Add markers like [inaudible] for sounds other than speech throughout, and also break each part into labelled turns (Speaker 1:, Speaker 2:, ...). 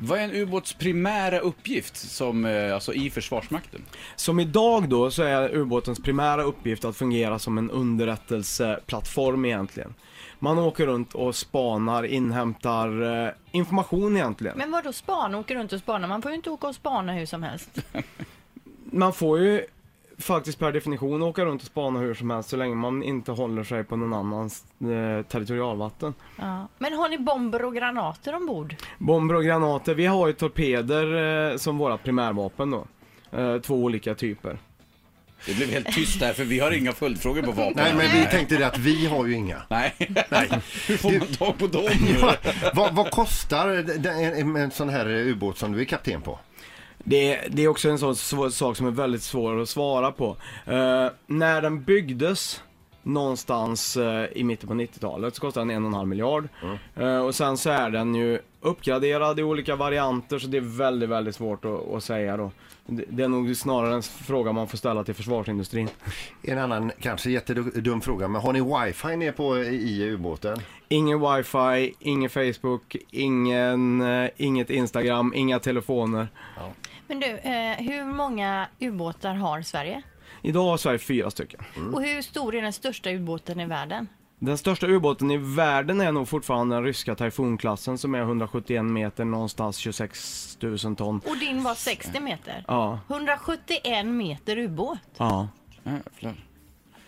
Speaker 1: Vad är en ubåts primära uppgift som, eh, alltså i Försvarsmakten?
Speaker 2: Som idag då så är ubåtens primära uppgift att fungera som en underrättelseplattform egentligen. Man åker runt och spanar, inhämtar eh, information egentligen.
Speaker 3: Men vadå span? Åker runt och spanar? Man får ju inte åka och spana hur som helst.
Speaker 2: Man får ju faktiskt per definition åka runt och spana hur som helst så länge man inte håller sig på någon annans eh, territorialvatten.
Speaker 3: Ja. Men har ni bomber och granater ombord?
Speaker 2: Bomber och granater, vi har ju torpeder eh, som våra primärvapen då. Eh, två olika typer.
Speaker 1: Det blev helt tyst där för vi har inga följdfrågor på vapen.
Speaker 4: Nej, men vi tänkte det att vi har
Speaker 2: [laughs]
Speaker 4: ju inga.
Speaker 1: Nej. [laughs] Hur får man tag på dem?
Speaker 4: vad, vad kostar den- en, en sån här ubåt som du är kapten på?
Speaker 2: Det, det är också en sån svår, sak som är väldigt svår att svara på. Eh, när den byggdes någonstans eh, i mitten på 90-talet så kostade den en och en halv miljard. Eh, och sen så är den ju uppgraderad i olika varianter så det är väldigt, väldigt svårt att, att säga då. Det, det är nog snarare en fråga man får ställa till försvarsindustrin.
Speaker 4: En annan kanske jättedum fråga, men har ni wifi ner på i ubåten?
Speaker 2: Ingen wifi, ingen Facebook, ingen, eh, inget Instagram, inga telefoner.
Speaker 3: Men du, eh, hur många ubåtar har Sverige?
Speaker 2: Idag har Sverige fyra stycken.
Speaker 3: Och hur stor är den största ubåten i världen?
Speaker 2: Den största ubåten i världen är nog fortfarande den ryska Typhoon-klassen som är 171 meter, någonstans 26 000 ton.
Speaker 3: Och din var 60 meter.
Speaker 2: Ja,
Speaker 3: 171 meter ubåt.
Speaker 2: ja.
Speaker 1: Jävlar.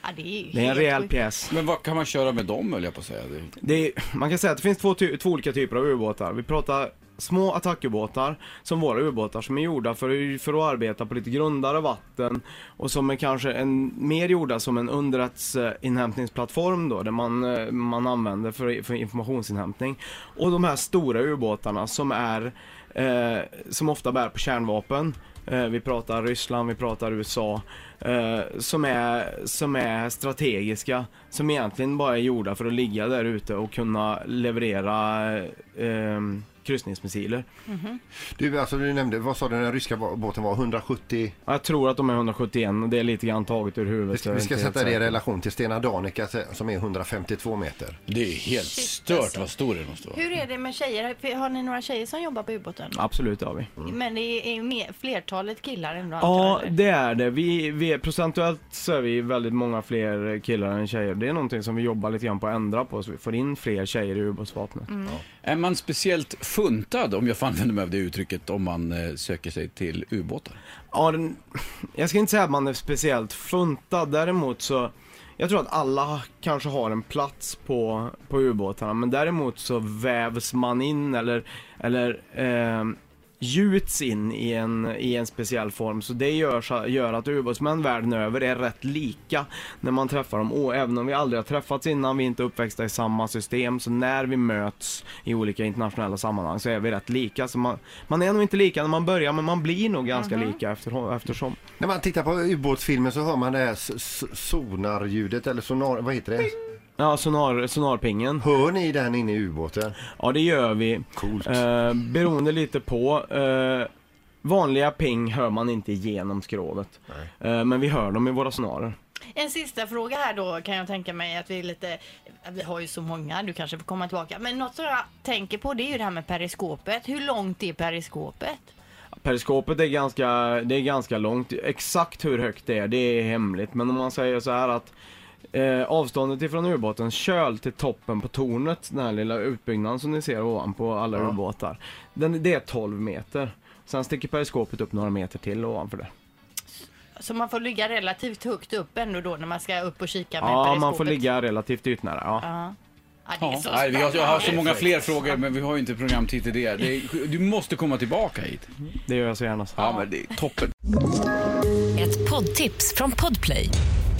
Speaker 3: Ja, det är ju
Speaker 2: Det är en
Speaker 3: helt
Speaker 2: rejäl
Speaker 3: sjukt.
Speaker 2: pjäs.
Speaker 1: Men vad kan man köra med dem höll jag på att säga. Det-
Speaker 2: Det är, man kan säga att det finns två, ty- två olika typer av ubåtar. Vi pratar små attackubåtar, som våra ubåtar, som är gjorda för, för att arbeta på lite grundare vatten och som är kanske en, mer gjorda som en underrättelseinhämtningsplattform då, där man, eh, man använder för, för informationsinhämtning. Och de här stora ubåtarna som är, eh, som ofta bär på kärnvapen. Eh, vi pratar Ryssland, vi pratar USA. Eh, som, är, som är strategiska. Som egentligen bara är gjorda för att ligga där ute och kunna leverera eh, eh, kryssningsmissiler.
Speaker 4: Du, alltså, du nämnde, vad sa du den ryska båten var? 170?
Speaker 2: Ja, Jag tror att de är 171 och det är lite grann taget ur huvudet.
Speaker 4: Vi
Speaker 2: så
Speaker 4: ska,
Speaker 2: jag
Speaker 4: vi
Speaker 2: är
Speaker 4: ska
Speaker 2: inte helt
Speaker 4: sätta det i
Speaker 2: säker.
Speaker 4: relation till Stena Danica som är 152 meter.
Speaker 1: Det är helt
Speaker 3: Shit,
Speaker 1: stört
Speaker 3: alltså.
Speaker 1: vad stor den måste vara.
Speaker 3: Hur är det med tjejer? Har ni några tjejer som jobbar på ubåten?
Speaker 2: Absolut, det har vi.
Speaker 3: Men det är ju mer- flertalet killar ändå
Speaker 2: Ja,
Speaker 3: antar jag, eller?
Speaker 2: det är det. Vi, vi är, procentuellt så är vi väldigt många fler killar än tjejer. Det är någonting som vi jobbar lite grann på att ändra på så vi får in fler tjejer i ubåtsvapnet.
Speaker 1: Är man speciellt funtad, om jag får använda mig av det uttrycket, om man eh, söker sig till ubåtar?
Speaker 2: Ja, den, jag ska inte säga att man är speciellt funtad, däremot så jag tror att alla kanske har en plats på, på ubåtarna, men däremot så vävs man in eller, eller eh, gjuts in i en, i en speciell form. Så det gör, så- gör att ubåtsmän världen över är rätt lika när man träffar dem. Och även om vi aldrig har träffats innan, vi är inte uppväxta i samma system, så när vi möts i olika internationella sammanhang så är vi rätt lika. Så man, man är nog inte lika när man börjar, men man blir nog ganska lika efter, eftersom.
Speaker 4: När man tittar på ubåtsfilmer så hör man det här s- s- sonarljudet eller sonar, vad heter det?
Speaker 2: Ja, sonar, sonarpingen.
Speaker 4: Hör ni den inne i ubåten?
Speaker 2: Ja, det gör vi.
Speaker 4: Coolt.
Speaker 2: Eh, beroende lite på. Eh, vanliga ping hör man inte genom skrovet. Eh, men vi hör dem i våra sonarer.
Speaker 3: En sista fråga här då kan jag tänka mig att vi är lite Vi har ju så många, du kanske får komma tillbaka Men något som jag tänker på det är ju det här med periskopet Hur långt är periskopet?
Speaker 2: Periskopet är ganska, det är ganska långt. Exakt hur högt det är, det är hemligt. Men om man säger så här att eh, avståndet ifrån ubåtens köl till toppen på tornet, den här lilla utbyggnaden som ni ser ovanpå alla ubåtar. Den, det är 12 meter. Sen sticker periskopet upp några meter till ovanför det.
Speaker 3: Så man får ligga relativt högt upp ändå då när man ska upp och kika med
Speaker 2: Ja,
Speaker 3: periskopet?
Speaker 2: man får ligga relativt ytnära. Ja.
Speaker 3: Ja, ja det är
Speaker 1: Ja.
Speaker 3: så
Speaker 1: Nej, vi har, jag har så
Speaker 3: spännande.
Speaker 1: många fler frågor men vi har ju inte programtid till det. det är, du måste komma tillbaka hit.
Speaker 2: Det gör jag så gärna.
Speaker 1: Ja, men det är toppen.
Speaker 5: Ett poddtips från Podplay.